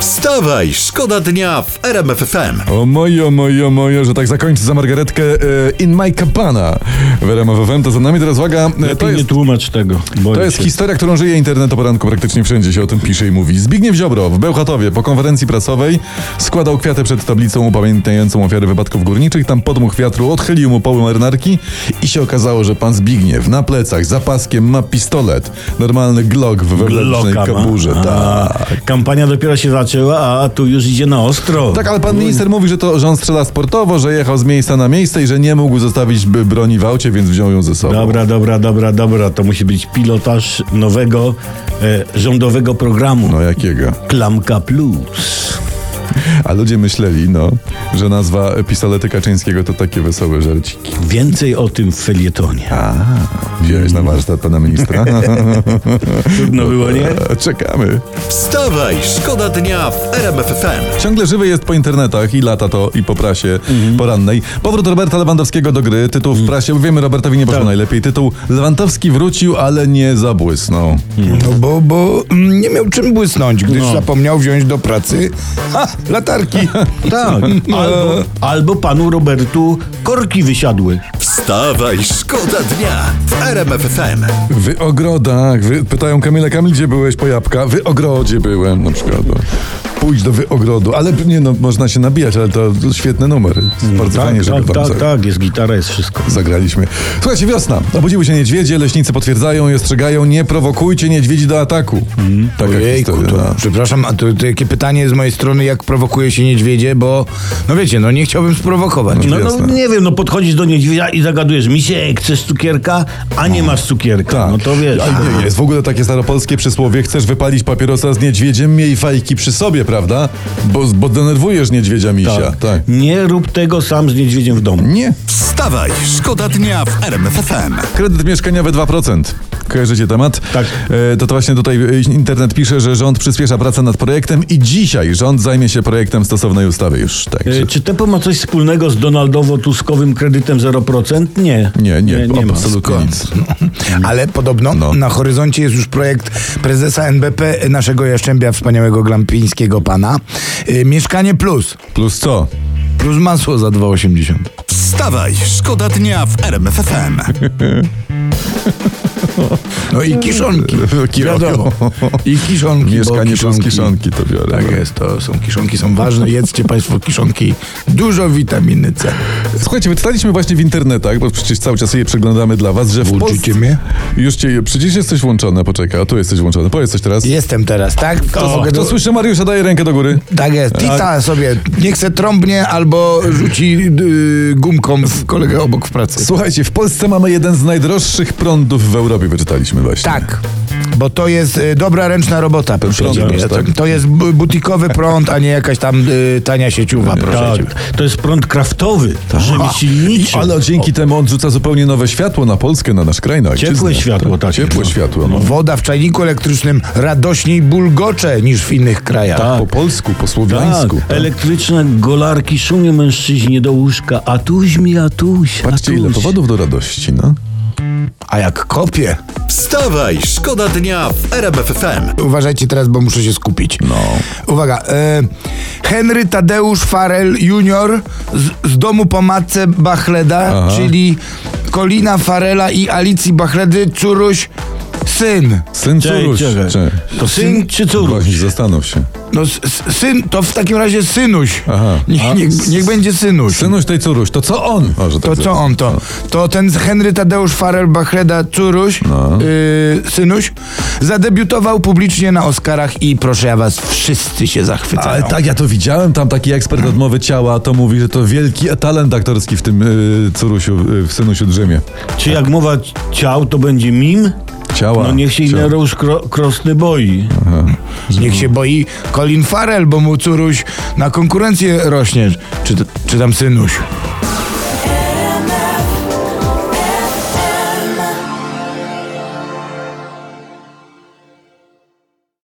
Wstawaj, szkoda dnia w RMF FM. O mojo, mojo, mojo, że tak zakończy za margaretkę e, In My Cabana w RMF FM. To za nami teraz uwaga. e, Lepiej to nie jest, tłumacz tego. Boję to jest się. historia, którą żyje internet o poranku. Praktycznie wszędzie się o tym pisze i mówi. Zbigniew Ziobro w Bełchatowie po konferencji prasowej składał kwiaty przed tablicą upamiętniającą ofiary wypadków górniczych. Tam podmuch wiatru odchylił mu poły marynarki i się okazało, że pan Zbigniew na plecach za paskiem ma pistolet. Normalny Glock w wewnętrznej Glocka ma. kaburze. A, Tak. Kampania dopiero się zaczęła, a tu już idzie na ostro. Tak, ale pan minister mówi, że to że on strzela sportowo, że jechał z miejsca na miejsce i że nie mógł zostawić by broni w aucie, więc wziął ją ze sobą. Dobra, dobra, dobra, dobra. To musi być pilotaż nowego e, rządowego programu. No jakiego? Klamka Plus. A ludzie myśleli, no, że nazwa pistolety Kaczyńskiego to takie wesołe żarciki. Więcej o tym w felietonie. Wziąłeś na warsztat pana ministra? Trudno było, nie? Czekamy. Wstawaj, szkoda dnia w RMF FM. Ciągle żywy jest po internetach i lata to i po prasie Mhm. porannej. Powrót Roberta Lewandowskiego do gry, tytuł w prasie. Wiemy, Robertowi nie poszło Tak. najlepiej. Tytuł Lewandowski wrócił, ale nie zabłysnął. No bo, bo mm, nie miał czym błysnąć, gdyż zapomniał wziąć do pracy ha, latarki. Tak. Albo, albo panu Robertu korki wysiadły. Wstawaj, szkoda dnia w RMF FM. Wy ogrodach, wy, pytają Kamila, Kamil, gdzie byłeś po jabłka? Wy ogrodzie byłem na przykład. no. Pójdź do wyogrodu, ale nie no, można się nabijać, ale to świetny numer. Bardzo fajnie, że go tak, tam tak, zagra- tak, jest gitara, jest wszystko. zagraliśmy. Słuchajcie, wiosna. Obudziły się niedźwiedzie, leśnicy potwierdzają i ostrzegają, nie prowokujcie niedźwiedzi do ataku. Mm. Taka Ojejku, historia. to, no. przepraszam, a to, to jakie pytanie z mojej strony, jak prowokuje się niedźwiedzie, bo no wiecie, no nie chciałbym sprowokować. No, Jasne. no nie wiem, no podchodzisz do niedźwiedzia i zagadujesz Misiek, chcesz cukierka, a nie masz cukierka. Tak. No to wiesz. A nie, jest w ogóle takie staropolskie przysłowie, chcesz wypalić papierosa z niedźwiedziem, miej fajki przy sobie, prawda? Bo, bo denerwujesz niedźwiedzia misia. tak. Nie rób tego sam z niedźwiedziem w domu. Nie, Wstawaj, szkoda dnia w RMF FM. Kredyt mieszkaniowy 2%. Kojarzycie temat? Tak. E, to, to właśnie tutaj e, internet pisze, że rząd przyspiesza pracę nad projektem i dzisiaj rząd zajmie się projektem stosownej ustawy już. Tak. E, że- Czy Tepo ma coś wspólnego z Donaldowo-Tuskowym kredytem 0%? Nie. Nie, nie, ma. absolutnie nic. Ale podobno No. na horyzoncie jest już projekt prezesa NBP, naszego jaszczębia wspaniałego glampińskiego pana. Y, Mieszkanie plus. Plus co? Plus masło za 2,80. Wstawaj, szkoda dnia w RMF FM. No i kiszonki. Wiadomo. I kiszonki. bo Mieszkanie plus kiszonki to biorę. Tak no. jest, to są kiszonki, są ważne. Jedzcie Państwo kiszonki. Dużo witaminy C. Słuchajcie, wyczytaliśmy właśnie w internetach, bo przecież cały czas je przeglądamy dla was, że w Włączycie Polsce... mnie? Już cię, przecież jesteś włączony, poczekaj, a tu jesteś włączony, powiedz coś teraz. Jestem teraz, tak? O, mogę kto do- słyszy Mariusza, daje rękę do góry. Tak jest. Tita sobie. Niech se trąbnie albo rzuci yy, gumką w kolegę obok w pracy. Słuchajcie, w Polsce mamy jeden z najdroższych prądów w Europie, wyczytaliśmy właśnie. Tak. Bo to jest y, dobra ręczna robota, proszę Prąd, ciebie. tak. To, to jest bu- butikowy prąd, a nie jakaś tam y, tania sieciuwa, proszę ciebie. Tak, to jest prąd kraftowy, rzemieślniczy. Tak. Ale dzięki temu odrzuca zupełnie nowe światło na Polskę, na nasz kraj, na Ciepłe ojczyznę. Tak, światło takie, Ciepłe no. światło, no. Woda w czajniku elektrycznym radośniej bulgocze niż w innych krajach. Po polsku, po słowiańsku. Tak, elektryczne golarki szumią mężczyźnie do łóżka. A tuś mi, a tuś, a Patrzcie, ile tuś. powodów do radości, no. A jak kopie? Wstawaj, szkoda dnia w RMF FM. Uważajcie teraz, bo muszę się skupić. No. Uwaga. E, Henry Tadeusz Farel Junior z, z domu po matce Bachleda, czyli Kolina Farela i Alicji Bachledy, córuś, syn. Syn Czekaj, córuś. czekaj. Cze- To syn czy córuś? Właśnie, zastanów się. No, s- s- syn, to w takim razie synuś. Aha. Niech, niech, niech będzie synuś. Synuś tej córuś, to co on? O, że tak To co zrobię. on to? To ten z Henry Tadeusz Farel Bachleda, córuś, No. y, synuś, zadebiutował publicznie na Oscarach i proszę ja was, wszyscy się zachwycają. Ale tak, ja to widziałem, tam taki ekspert Hmm. odmowy ciała to mówi, że to wielki talent aktorski w tym y, córusiu, y, w Synusiu Drzymie. Czy jak mowa ciał, to będzie mim? Ciała. No niech się ciała. Ireneusz Kro- Krosny boi. Niech się boi Colin Farrell, bo mu córuś na konkurencję rośnie. Czy, czy tam synuś?